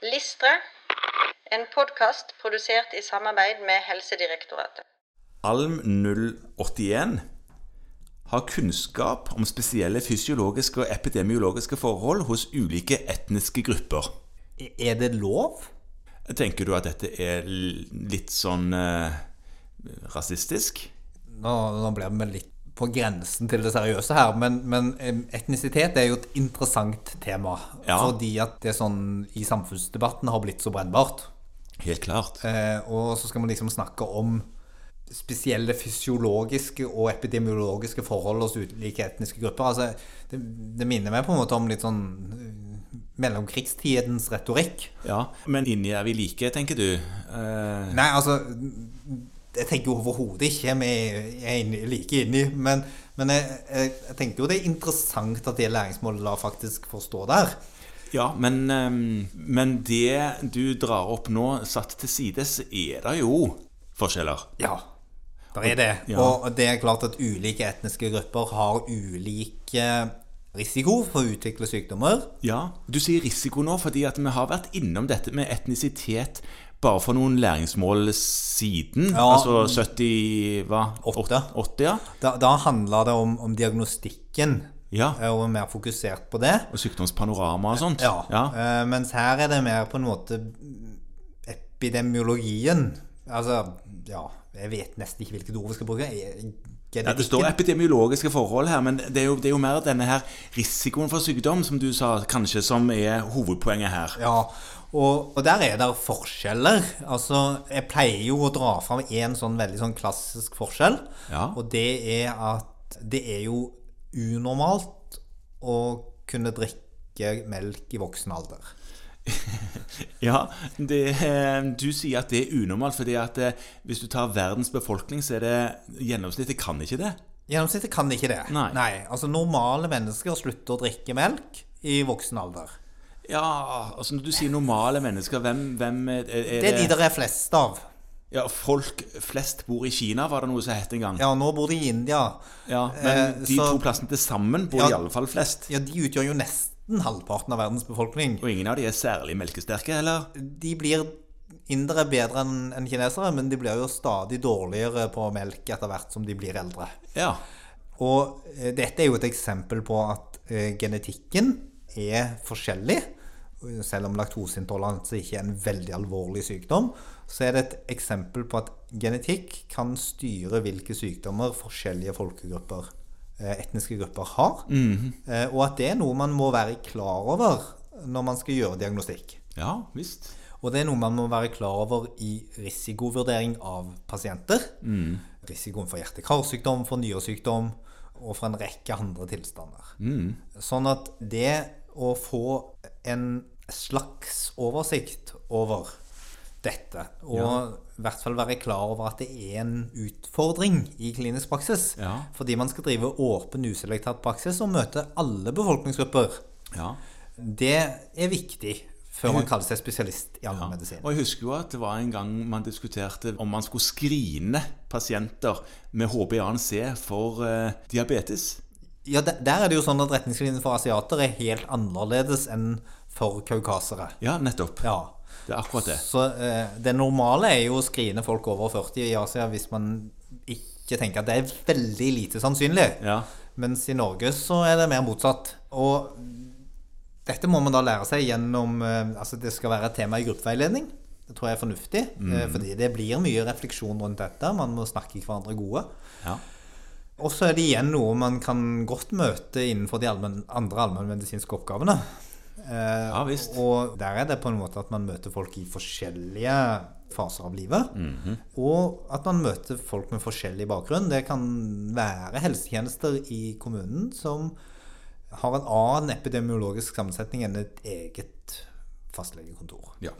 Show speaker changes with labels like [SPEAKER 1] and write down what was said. [SPEAKER 1] Listre, en podkast produsert i samarbeid med Helsedirektoratet.
[SPEAKER 2] ALM081 har kunnskap om spesielle fysiologiske og epidemiologiske forhold hos ulike etniske grupper.
[SPEAKER 3] Er det lov?
[SPEAKER 2] Tenker du at dette er l- litt sånn eh, rasistisk?
[SPEAKER 3] Nå, nå blir vi litt på grensen til det seriøse her, men, men em, etnisitet er jo et interessant tema.
[SPEAKER 2] Ja.
[SPEAKER 3] Fordi at det sånn i samfunnsdebatten har blitt så brennbart.
[SPEAKER 2] Helt klart.
[SPEAKER 3] Eh, og så skal man liksom snakke om spesielle fysiologiske og epidemiologiske forhold hos ulike etniske grupper. Altså, det, det minner meg på en måte om litt sånn eh, mellomkrigstidens retorikk.
[SPEAKER 2] Ja, Men inni er vi like, tenker du? Eh,
[SPEAKER 3] Nei, altså Jeg tenker jo overhodet ikke vi er inne, like inni, men, men jeg, jeg, jeg tenker jo det er interessant at det læringsmålet lar faktisk få stå der.
[SPEAKER 2] ja, men, eh, men det du drar opp nå, satt til side, så er det jo forskjeller.
[SPEAKER 3] Ja. Der er det.
[SPEAKER 2] Ja.
[SPEAKER 3] Og det er klart at ulike etniske grupper har ulike risiko for å utvikle sykdommer.
[SPEAKER 2] Ja, Du sier risiko nå fordi at vi har vært innom dette med etnisitet bare for noen læringsmål siden.
[SPEAKER 3] Ja.
[SPEAKER 2] Altså 70 hva?
[SPEAKER 3] Åtte.
[SPEAKER 2] Åt- åtte, ja.
[SPEAKER 3] Da, da handla det om, om diagnostikken, Eh,
[SPEAKER 2] Ja.
[SPEAKER 3] og er mer fokusert på det.
[SPEAKER 2] Og sykdomspanorama og sånt.
[SPEAKER 3] Ja. eh, mens her er det mer på en måte epidemiologien. Altså, ja Jeg vet nesten ikke hvilket ord vi skal bruke. Eh,
[SPEAKER 2] Ja, det står
[SPEAKER 3] genetikken.
[SPEAKER 2] epidemiologiske forhold her, men det er, jo, det er jo mer denne her risikoen for sykdom, som du sa, kanskje som er hovedpoenget her.
[SPEAKER 3] Ja, og, og der er det forskjeller. Altså, jeg pleier jo å dra fram én sånn veldig sånn klassisk forskjell.
[SPEAKER 2] Ja.
[SPEAKER 3] Og det er at det er jo unormalt å kunne drikke melk i voksen alder.
[SPEAKER 2] Ja, det, eh, Du sier at det er unormalt, fordi at eh, hvis du tar verdens befolkning, så er det gjennomsnittet kan ikke det.
[SPEAKER 3] Gjennomsnittet kan ikke det.
[SPEAKER 2] Nei.
[SPEAKER 3] altså Normale mennesker slutter å drikke melk i voksen alder.
[SPEAKER 2] Ja, altså Når du sier normale mennesker, hvem, hvem er, er
[SPEAKER 3] Det er de der er flest av.
[SPEAKER 2] Ja, Folk flest bor i Kina, var det noe som het en gang.
[SPEAKER 3] Ja, nå bor de i India.
[SPEAKER 2] Ja, men
[SPEAKER 3] Eh,
[SPEAKER 2] de
[SPEAKER 3] så-
[SPEAKER 2] to plassene til sammen bor
[SPEAKER 3] Ja.
[SPEAKER 2] i alle fall flest.
[SPEAKER 3] Ja, De utgjør jo nesten halvparten av verdens befolkning.
[SPEAKER 2] Og ingen av de er særlig melkesterke, eller?
[SPEAKER 3] De blir indere bedre enn enn kinesere, men de blir jo stadig dårligere på melk etter hvert som de blir eldre.
[SPEAKER 2] Ja.
[SPEAKER 3] Og eh, dette er jo et eksempel på at eh, genetikken er forskjellig. Selv om laktoseintoleranse ikke er en veldig alvorlig sykdom, så er det et eksempel på at genetikk kan styre hvilke sykdommer forskjellige folkegrupper, eh, etniske grupper, har. Eh, Og at det er noe man må være klar over når man skal gjøre diagnostikk.
[SPEAKER 2] Ja visst.
[SPEAKER 3] Og det er noe man må være klar over i risikovurdering av pasienter. Risikoen for hjerte-karsykdom, for nyresykdom og for en rekke andre tilstander. Sånn at det å få en slags oversikt over dette, og i hvert fall være klar over at det er en utfordring i klinisk praksis,
[SPEAKER 2] Ja.
[SPEAKER 3] fordi man skal drive åpen, uselektert praksis og møte alle befolkningsgrupper,
[SPEAKER 2] Ja.
[SPEAKER 3] det er viktig før man kaller seg spesialist i allmennmedisin.
[SPEAKER 2] Og jeg husker jo at det var en gang man diskuterte om man skulle skrine pasienter med HbA1c for eh, diabetes.
[SPEAKER 3] Ja, de- der er det jo sånn at retningslinjene for asiater er helt annerledes enn for kaukasere.
[SPEAKER 2] Ja, nettopp.
[SPEAKER 3] Ja.
[SPEAKER 2] Det er akkurat det.
[SPEAKER 3] Så eh, det normale er jo å skrine folk over 40 i Asia hvis man ikke tenker at det er veldig lite sannsynlig.
[SPEAKER 2] Ja.
[SPEAKER 3] Mens i Norge så er det mer motsatt. Og dette må man da lære seg gjennom eh, Altså det skal være et tema i gruppeveiledning. Det tror jeg er fornuftig, eh, fordi det blir mye refleksjon rundt dette. Man må snakke hverandre gode.
[SPEAKER 2] Ja.
[SPEAKER 3] Og så er det igjen noe man kan godt møte innenfor de allmenn, andre allmennmedisinske oppgavene. Eh,
[SPEAKER 2] Ja, visst.
[SPEAKER 3] Og der er det på en måte at man møter folk i forskjellige faser av livet. Og at man møter folk med forskjellig bakgrunn. Det kan være helsetjenester i kommunen som har en annen epidemiologisk sammensetning enn et eget fastlegekontor.
[SPEAKER 2] ja.